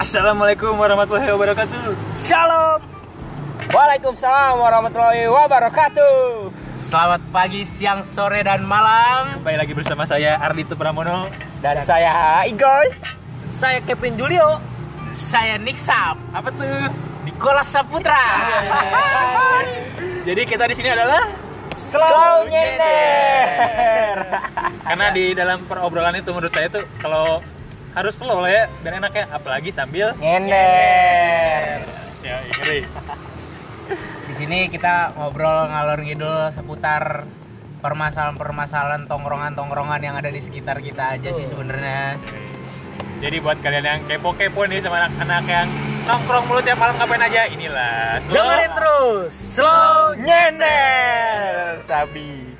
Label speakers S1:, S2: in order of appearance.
S1: Assalamualaikum warahmatullahi wabarakatuh.
S2: Shalom. Waalaikumsalam warahmatullahi wabarakatuh.
S3: Selamat pagi, siang, sore, dan malam.
S1: Kembali lagi bersama saya Ardito Pramono.
S2: Dan, saya Igor. Saya Kevin Julio.
S3: Saya Niksap,
S1: Apa tuh?
S3: Nicholas Saputra.
S1: Jadi kita di sini adalah
S2: Slow nyender.
S1: karena di dalam perobrolan itu menurut saya tuh kalau harus slow lah ya biar enak ya apalagi sambil
S2: Nyender.
S1: ya ngeri.
S3: Di sini kita ngobrol ngalor ngidul seputar permasalahan-permasalahan tongkrongan-tongkrongan yang ada di sekitar kita aja sih sebenarnya.
S1: Jadi buat kalian yang kepo-kepo nih sama anak-anak yang nongkrong mulut tiap malam ngapain aja inilah. slow.
S2: Dengerin terus. Slow nyender. Sabi.